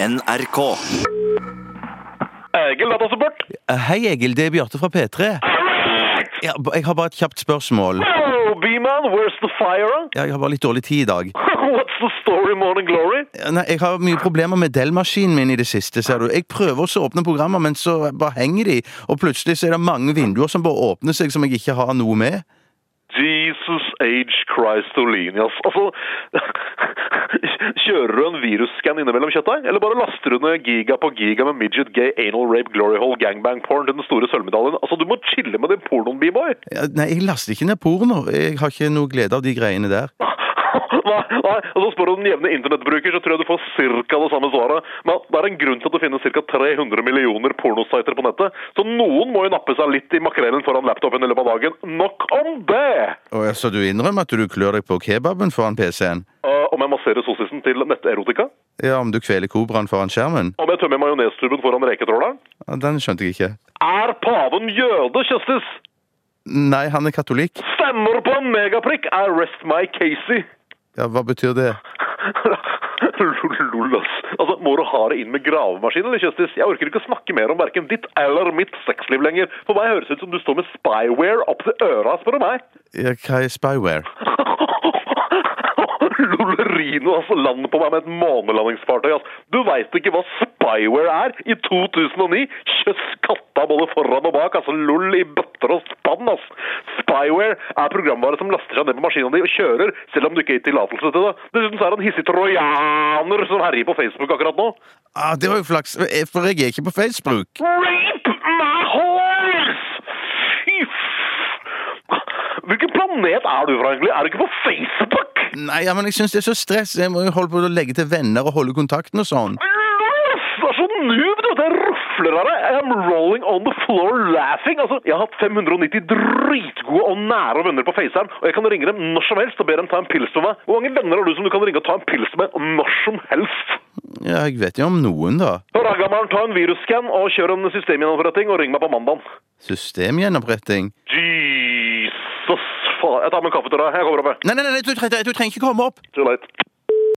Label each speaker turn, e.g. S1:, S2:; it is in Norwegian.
S1: NRK.
S2: Egil, datasupport.
S3: Eh, Hei, Egil. Det er Bjarte fra P3. Ja, b- jeg har bare et kjapt spørsmål.
S2: Oh, B-man, where's the fire?
S3: Ja, jeg har bare litt dårlig tid i dag.
S2: What's the story, morning glory?
S3: Ja, Nei, jeg har mye problemer med Dell-maskinen min i det siste, ser du. Jeg prøver også å åpne programmer, men så bare henger de, og plutselig så er det mange vinduer som bare åpner seg som jeg ikke har noe med.
S2: Jesus H. Christolinias. Altså, kjører du en virusskann innimellom kjøttdeig? Eller bare laster du ned giga på giga med midget, gay, anal rape, glory hole, gangbang porn til den store sølvmedaljen? Altså, du må chille med din pornoen, b-boy.
S3: Ja, Nei, jeg laster ikke ned porno. Jeg har ikke noe glede av de greiene der.
S2: Nei, nei, og så spør du den jevne internettbruker, så tror jeg du får cirka det samme svaret. Men det er en grunn til at det finnes cirka 300 millioner pornositer på nettet, så noen må jo nappe seg litt i makrellen foran laptopen i løpet av dagen. Nok om det!
S3: Og ja, Så du innrømmer at du klør deg på kebaben foran PC-en?
S2: Eh, om jeg masserer sossisen til netterotika?
S3: Ja, om du kveler kobraen foran skjermen?
S2: Om jeg tømmer majonestuben foran reketråleren?
S3: Ja, Den skjønte jeg ikke.
S2: Er paven jøde, Kjøstis?
S3: Nei, han er katolikk.
S2: Stemmer på en megaprikk? I rest my Casey.
S3: Ja, Hva betyr det?
S2: Lol, ass. Altså, må du ha det inn med gravemaskin, eller, Kjøstis? Jeg orker ikke å snakke mer om hverken ditt eller mitt sexliv lenger. For meg høres det ut som du står med spyware opp til øra, spør du meg.
S3: Ja, Hva er spyware?
S2: Lollerino, altså. Land på meg med et månelandingsfartøy. ass. Du veit ikke hva spyware er i 2009? Kjøss katta både foran og bak. altså Lol i bøtter og spann. ass. Spyware er programvare som laster seg ned på maskina di og kjører, selv om du ikke gir tillatelse til det. Dessuten så er det en hissig trojaner som herjer på Facebook akkurat nå.
S3: Ah, det var jo flaks, for jeg er ikke på Facebook.
S2: Rape my horse! Fy f... Hvilken planet er du fra, egentlig? Er du ikke på Facebook?
S3: Nei, ja, men jeg syns det er så stress. Jeg må jo holde på å legge til venner og holde kontakten og sånn.
S2: Det er så noob, du! Det rufler av deg! I'm rolling on the floor laughing! Altså, jeg har hatt 590 dritgode og nære venner på FaceTime, og jeg kan ringe dem når som helst og be dem ta en pils med meg. Hvor mange venner har du som du kan ringe og ta en pils med når som helst?
S3: Ja, jeg vet jo om noen, da.
S2: Hør da, gammelen, ta en virusskann og kjør en systemgjennomretting, og ring meg på mandagen.
S3: Systemgjennompretting.
S2: Jesus faen. Jeg tar meg en kaffe til deg. Jeg kommer opp, jeg.
S3: Nei, nei, nei, du, trenger- du trenger ikke komme opp.
S2: Too late.